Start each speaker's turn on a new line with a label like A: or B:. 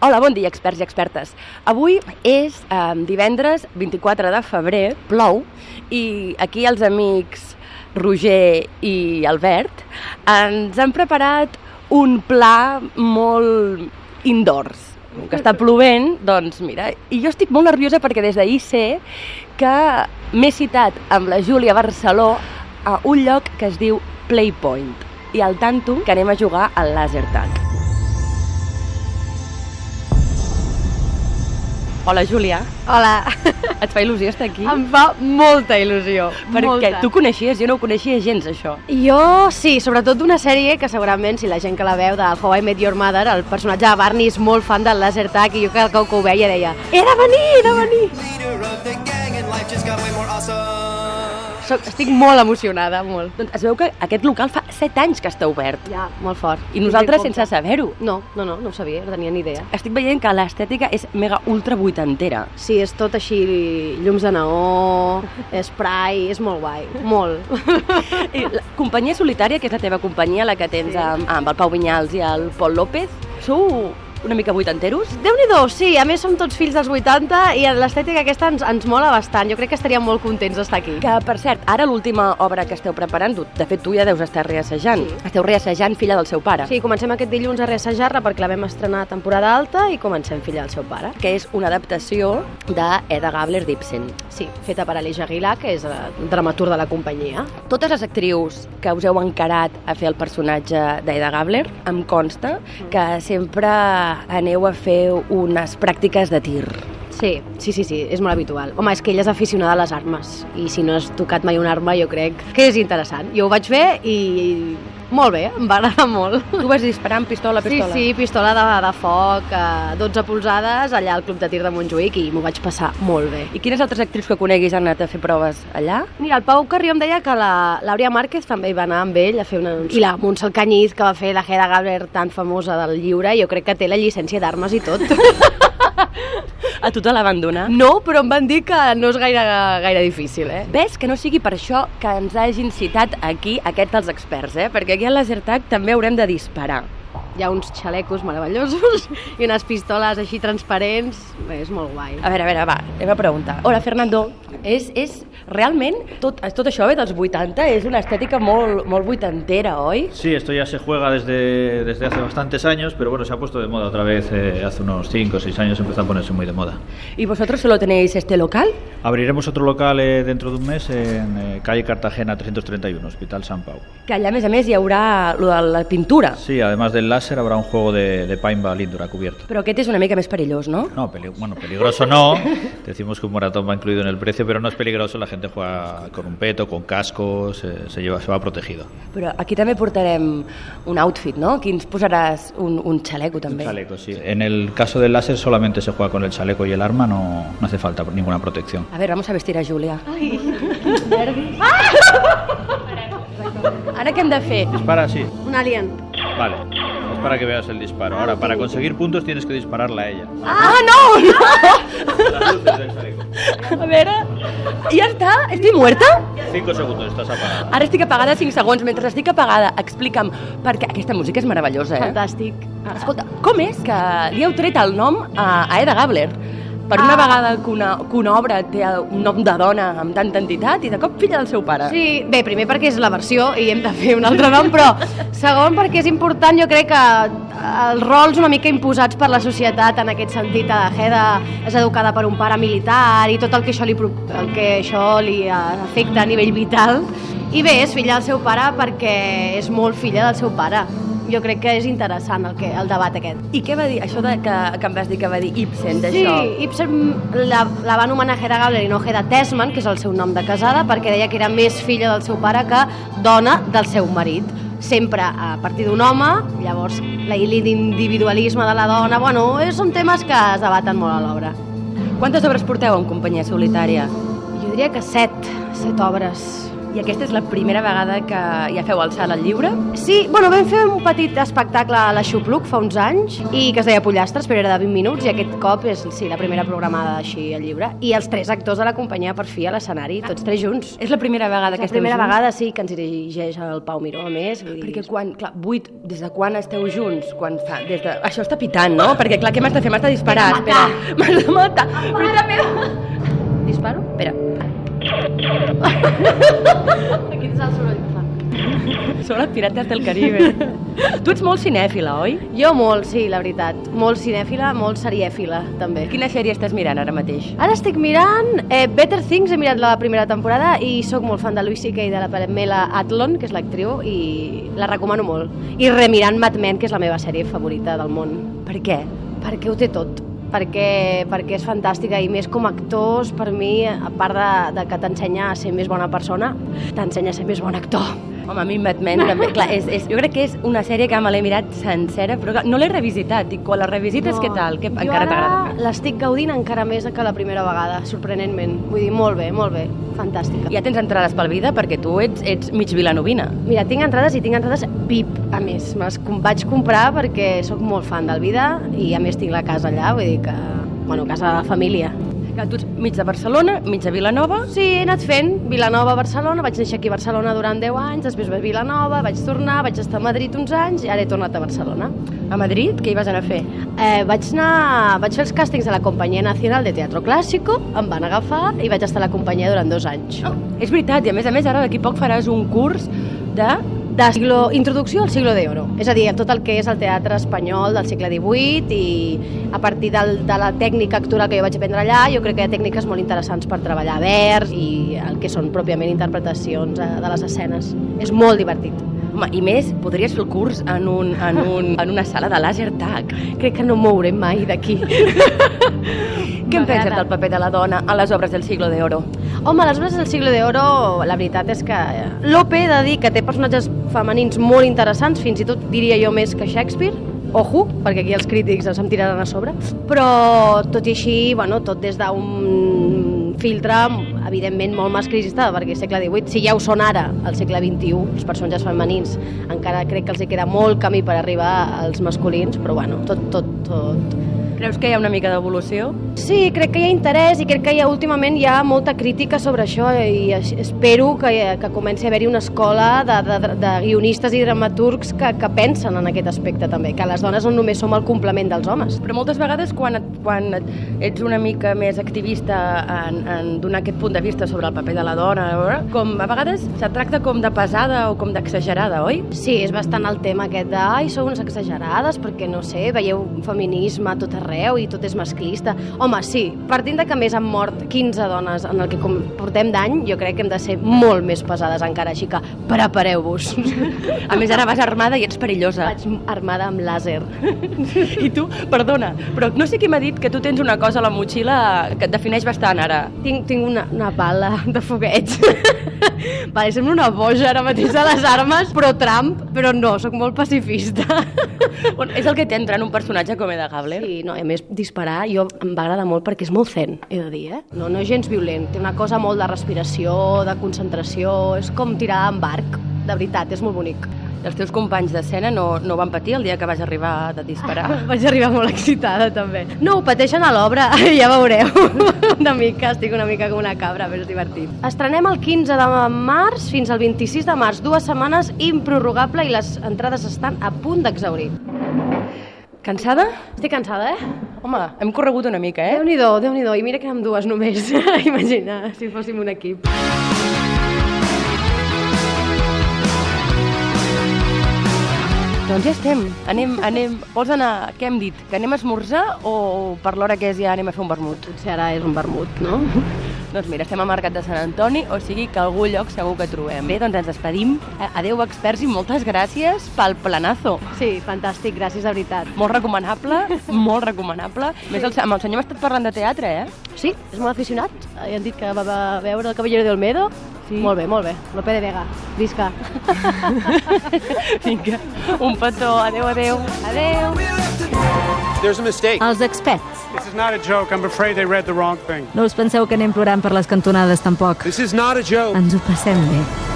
A: Hola, bon dia, experts i expertes. Avui és eh, divendres 24 de febrer, plou, i aquí els amics Roger i Albert ens han preparat un pla molt indoors. Com Que està plovent, doncs mira, i jo estic molt nerviosa perquè des d'ahir sé que m'he citat amb la Júlia Barceló a un lloc que es diu Playpoint i al tanto que anem a jugar al laser tag. Hola, Júlia.
B: Hola,
A: Et fa il·lusió estar aquí?
B: em fa molta il·lusió.
A: Perquè
B: molta.
A: tu coneixies, jo no ho coneixia gens, això.
B: Jo sí, sobretot d'una sèrie que segurament, si la gent que la veu de How I Met Your Mother, el personatge de Barney és molt fan del laser tag i jo cada cop que ho veia deia he de venir, he de venir!
C: leader of the gang and life just got way more awesome.
B: Soc, estic molt emocionada, molt.
A: Doncs es veu que aquest local fa 7 anys que està obert.
B: Ja, molt fort.
A: I nosaltres sense
B: saber.
A: saber-ho.
B: No, no, no, no ho sabia, no tenia ni idea.
A: Estic veient que l'estètica és mega ultra vuitantera.
B: Sí, és tot així, llums de neó, spray, és molt guai, molt.
A: I la companyia solitària, que és la teva companyia, la que tens
B: Sí.
A: amb, amb el Pau Vinyals i el Pol López, sou una mica vuitanteros?
B: déu nhi sí, a més som tots fills dels 80 i l'estètica aquesta ens, ens mola bastant. Jo crec que estaríem molt contents d'estar aquí.
A: Que, per cert, ara l'última obra que esteu preparant, tu- de fet tu ja deus estar reassajant.
B: Sí.
A: Esteu reassajant Filla del seu pare,
B: Sí, comencem aquest dilluns a reassajar-la perquè la vam estrenar a temporada alta i comencem Filla del seu pare.
A: que és una adaptació d'Eda Gabler d'Ibsen.
B: Sí, feta per Aleix Aguilar, que és el dramaturg de la companyia.
A: Totes les actrius que us heu encarat a fer el personatge d'Eda Gabler, em consta que sempre aneu a fer unes pràctiques de tir.
B: Sí, sí, sí, sí, és molt habitual. Home, és que ella és aficionada a les armes i si no has tocat mai una arma jo crec que és interessant. Jo ho vaig fer i molt bé, em va agradar molt.
A: Tu vas disparar amb pistola a pistola?
B: Sí, sí, pistola de, de foc, eh, 12 polzades, allà al Club de Tir de Montjuïc i m'ho vaig passar molt bé.
A: I quines altres actrius que coneguis han anat a fer proves allà?
B: Mira, el Pau Carrió em deia que la l'Àurea Márquez també hi va anar amb ell a fer una... I la Montse Alcanyiz, que va fer la Hera Gabler tan famosa del lliure, jo crec que té la llicència d'armes i tot.
A: A tu te la van donar?
B: no, però em van dir que no és gaire, gaire difícil, eh?
A: Ves que no sigui per això que ens hagin citat aquí aquest dels experts, eh? Perquè aquí al Lasertag també haurem de disparar.
B: Hi ha uns xalecos meravellosos i unes pistoles així transparents, Bé, és molt guai.
A: A veure, a veure, va, anem a preguntar. Hola, Fernando. És, és realment, tot, tot això ve dels 80, és una estètica molt, molt vuitantera, oi?
D: Sí, esto ya se juega desde, desde hace bastantes años, pero bueno, se ha puesto de moda otra vez. eh, hace unos 5 o 6 años empezó a ponerse muy de moda.
A: ¿Y vosotros solo tenéis este local?
D: Abriremos otro local eh, dentro de un mes en eh, calle Cartagena 331, Hospital San Pau.
A: Que allà, a més a més, hi haurà lo de la pintura.
D: Sí, además del láser habrá un juego de, de paintball indoor a cubierto.
A: Però aquest és una mica més perillós, no?
D: No, peli- bueno, peligroso no. Decimos que un maratón va incluido en el precio, pero no es peligroso. La gente juega con un peto, con cascos, eh, se, lleva, se va protegido.
A: Però aquí també portarem un outfit, no? Aquí ens posaràs un, un xaleco, també.
D: Chaleco, sí. En el caso del láser solamente se juega con el chaleco y el arma, no, no hace falta ninguna protección.
A: A veure, vamos a vestir a Júlia. Ai, nervis. Ara què hem de fer?
D: Dispara, sí.
B: Un alien.
D: Vale, es para que veas el disparo. Ahora, para conseguir puntos tienes que dispararla a ella.
A: Ah, no! no! A veure... Ja està? Estic muerta?
D: Cinco segundos, estás apagada.
A: Ara estic apagada 5 segons. Mentre estic apagada, explica'm... Perquè aquesta música és meravellosa, eh?
B: Fantàstic. Ah.
A: Escolta, com és que li heu tret el nom a, a Eda Gabler? Per una
B: Ah.
A: vegada que una, que una obra té un nom de dona amb tanta entitat i de cop filla del seu pare.
B: Sí, bé, primer perquè és la versió i hem de fer un altre nom, però segon perquè és important, jo crec que eh, els rols una mica imposats per la societat en aquest sentit, a Heda és educada per un pare militar i tot el que això li, pro- el que això li eh, afecta a nivell vital. I bé, és filla del seu pare perquè és molt filla del seu pare. Jo crec que és interessant el, que, el debat aquest.
A: I què va dir? Això de, que, que em vas dir que va dir Ibsen,
B: Sí,
A: d'això.
B: Ibsen la, la va anomenar Hera Gabler i no Hera Tesman, que és el seu nom de casada, perquè deia que era més filla del seu pare que dona del seu marit. Sempre a partir d'un home, llavors la i l'individualisme de la dona, bueno, és- són temes que es debaten molt a l'obra.
A: Quantes obres porteu en companyia solitària?
B: Jo diria que set, set obres.
A: I aquesta és la primera vegada que ja feu el salt al lliure?
B: Sí, bueno, vam fer un petit espectacle a la Xupluc fa uns anys i que es deia Pollastres, però era de 20 minuts i aquest cop és sí, la primera programada així al llibre. I els tres actors de la companyia per fi a l'escenari, tots tres junts.
A: És la primera vegada que
B: La
A: esteu
B: primera
A: junts?
B: vegada sí que ens dirigeix el Pau Miró, a més. Vull dir,
A: Perquè quan, clar, vuit, des de quan esteu junts? Quan fa, des de... Això està pitant, no? Perquè clar, què m'has de fer? M'has de disparar. Espera, M'has de matar. Mira, mira.
B: Disparo?
A: Espera,
B: Aquest és el soroll que fa.
A: sobre Pirates del Caribe. tu ets molt cinèfila, oi?
B: Jo molt, sí, la veritat. Molt cinèfila, molt serièfila, també.
A: Quina sèrie estàs mirant ara mateix?
B: Ara estic mirant eh, Better Things, he mirat la primera temporada i sóc molt fan de Louis C.K. i de la Pamela Adlon, que és l'actriu, i la recomano molt. I remirant Mad Men, que és la meva sèrie favorita del món,
A: Per què?
B: perquè ho té tot perquè, perquè és fantàstica i més com a actors, per mi, a part de, de que t'ensenya a ser més bona persona, t'ensenya a ser més bon actor.
A: Home, a mi Mad Men també, clar, és, és, jo crec que és una sèrie que me l'he mirat sencera, però clar, no l'he revisitat, i quan la revisites, què tal? Què,
B: Jo
A: encara
B: ara
A: t'agrada?
B: l'estic gaudint encara més que la primera vegada, sorprenentment. Vull dir, molt bé, molt bé, fantàstica.
A: Ja tens entrades pel vida perquè tu ets, ets mig vilanovina.
B: Mira, tinc entrades i tinc entrades VIP, a més. Me les com- vaig comprar perquè sóc molt fan del Vida i a més tinc la casa allà, vull dir que... Bueno, casa de la família.
A: Clar, tu ets mig de Barcelona, mig de Vilanova,
B: Sí, he anat fent Vilanova, Barcelona, vaig néixer aquí a Barcelona durant 10 anys, després vaig a Vilanova, vaig tornar, vaig estar a Madrid uns anys i ara he tornat a Barcelona.
A: a Madrid, què hi vas anar a fer?
B: Eh, vaig, anar, vaig fer els càstings de la Companyia Nacional de Teatro Clàssico, em van agafar i vaig estar a la companyia durant dos anys.
A: Oh, és veritat, i a més a més ara d'aquí a poc faràs un curs de...
B: de siglo, introducció al siglo de oro, és a dir, tot el que és el teatre espanyol del segle XVIII i a partir del, de la tècnica actoral que jo vaig aprendre allà, jo crec que hi ha tècniques molt interessants per treballar vers i el que són pròpiament interpretacions eh, de les escenes. És molt divertit.
A: Home, I més, podries fer el curs en, un, en, un, en una sala de laser tag.
B: Crec que no em mouré mai d'aquí.
A: Què en penses del paper de la dona a les obres del siglo de oro?
B: Home, les obres del siglo de oro, la veritat és que eh, Lope he de dir que té personatges femenins molt interessants, fins i tot diria jo més que Shakespeare, ojo, perquè aquí els crítics ens em tiraran a sobre, però tot i així, bueno, tot des d'un filtre evidentment molt masclista, perquè segle XVIII, si ja ho són ara, al segle XXI, els personatges femenins, encara crec que els hi queda molt camí per arribar als masculins, però bueno, tot, tot, tot,
A: Creus que hi ha una mica d'evolució?
B: Sí, crec que hi ha interès i crec que hi ha, últimament hi ha molta crítica sobre això i aix- espero que, que comenci a haver-hi una escola de, de, de guionistes i dramaturgs que, que pensen en aquest aspecte també, que les dones no només som el complement dels homes.
A: Però moltes vegades quan, et, quan et, ets una mica més activista en, en donar aquest punt de vista sobre el paper de la dona, a veure, com a vegades se tracta com de pesada o com d'exagerada, oi?
B: Sí, és bastant el tema aquest de ai, sou unes exagerades perquè, no sé, veieu feminisme a tot arreu i tot és masclista. Home, sí, partint de que més han mort 15 dones en el que com portem d'any, jo crec que hem de ser molt més pesades encara, així que prepareu-vos.
A: A més, ara vas armada i ets perillosa.
B: Vaig armada amb làser.
A: I tu, perdona, però no sé qui m'ha dit que tu tens una cosa a la motxilla que et defineix bastant ara.
B: Tinc, tinc una, una bala de fogueig. vale, sembla una boja ara mateix a les armes, però Trump, però no, sóc molt pacifista.
A: Bueno, és el que t'entra en un personatge com Eda Gabler.
B: I no, i a més, disparar jo em va agradar molt perquè és molt zen, he de dir, eh? No, no és gens violent, té una cosa molt de respiració, de concentració, és com tirar amb arc, de veritat, és molt bonic.
A: Els teus companys d'escena no, no van patir el dia que vas arribar de disparar.
B: Vaig arribar molt excitada, també. No, ho pateixen a l'obra, ja veureu. una mica, estic una mica com una cabra, però és divertit. Estrenem el 15 de març fins al 26 de març, dues setmanes improrrogable i les entrades estan a punt d'exaurir.
A: Cansada?
B: Estic cansada, eh?
A: Home, hem corregut una mica, eh?
B: Déu-n'hi-do, déu nhi déu i mira que érem dues només. Imagina, si fóssim un equip.
A: Doncs ja estem. Anem, anem... Vols anar... Què hem dit? Que anem a esmorzar o per l'hora que és ja anem a fer un vermut?
B: Potser ara és un vermut, no?
A: Doncs mira, estem al Mercat de Sant Antoni, o sigui que algun lloc segur que trobem. Bé, doncs ens despedim. Eh, Adeu, experts, i moltes gràcies pel planazo.
B: Sí, fantàstic, gràcies, de veritat.
A: Molt recomanable, molt recomanable. A Més el, amb el senyor hem estat parlant de teatre, eh?
B: Sí, és molt aficionat. Ja han dit que va, va veure el Caballero de Olmedo. Sí. Molt bé, molt bé. Lope de Vega. Visca.
A: Vinga, un petó. Adeu, adeu.
B: Adeu.
C: We're left to There's a mistake.
E: Els experts.
F: This is not a joke. I'm afraid they read the wrong thing.
E: No us penseu que anem plorant per les cantonades, tampoc.
C: This is not a joke.
E: Ens ho passem bé.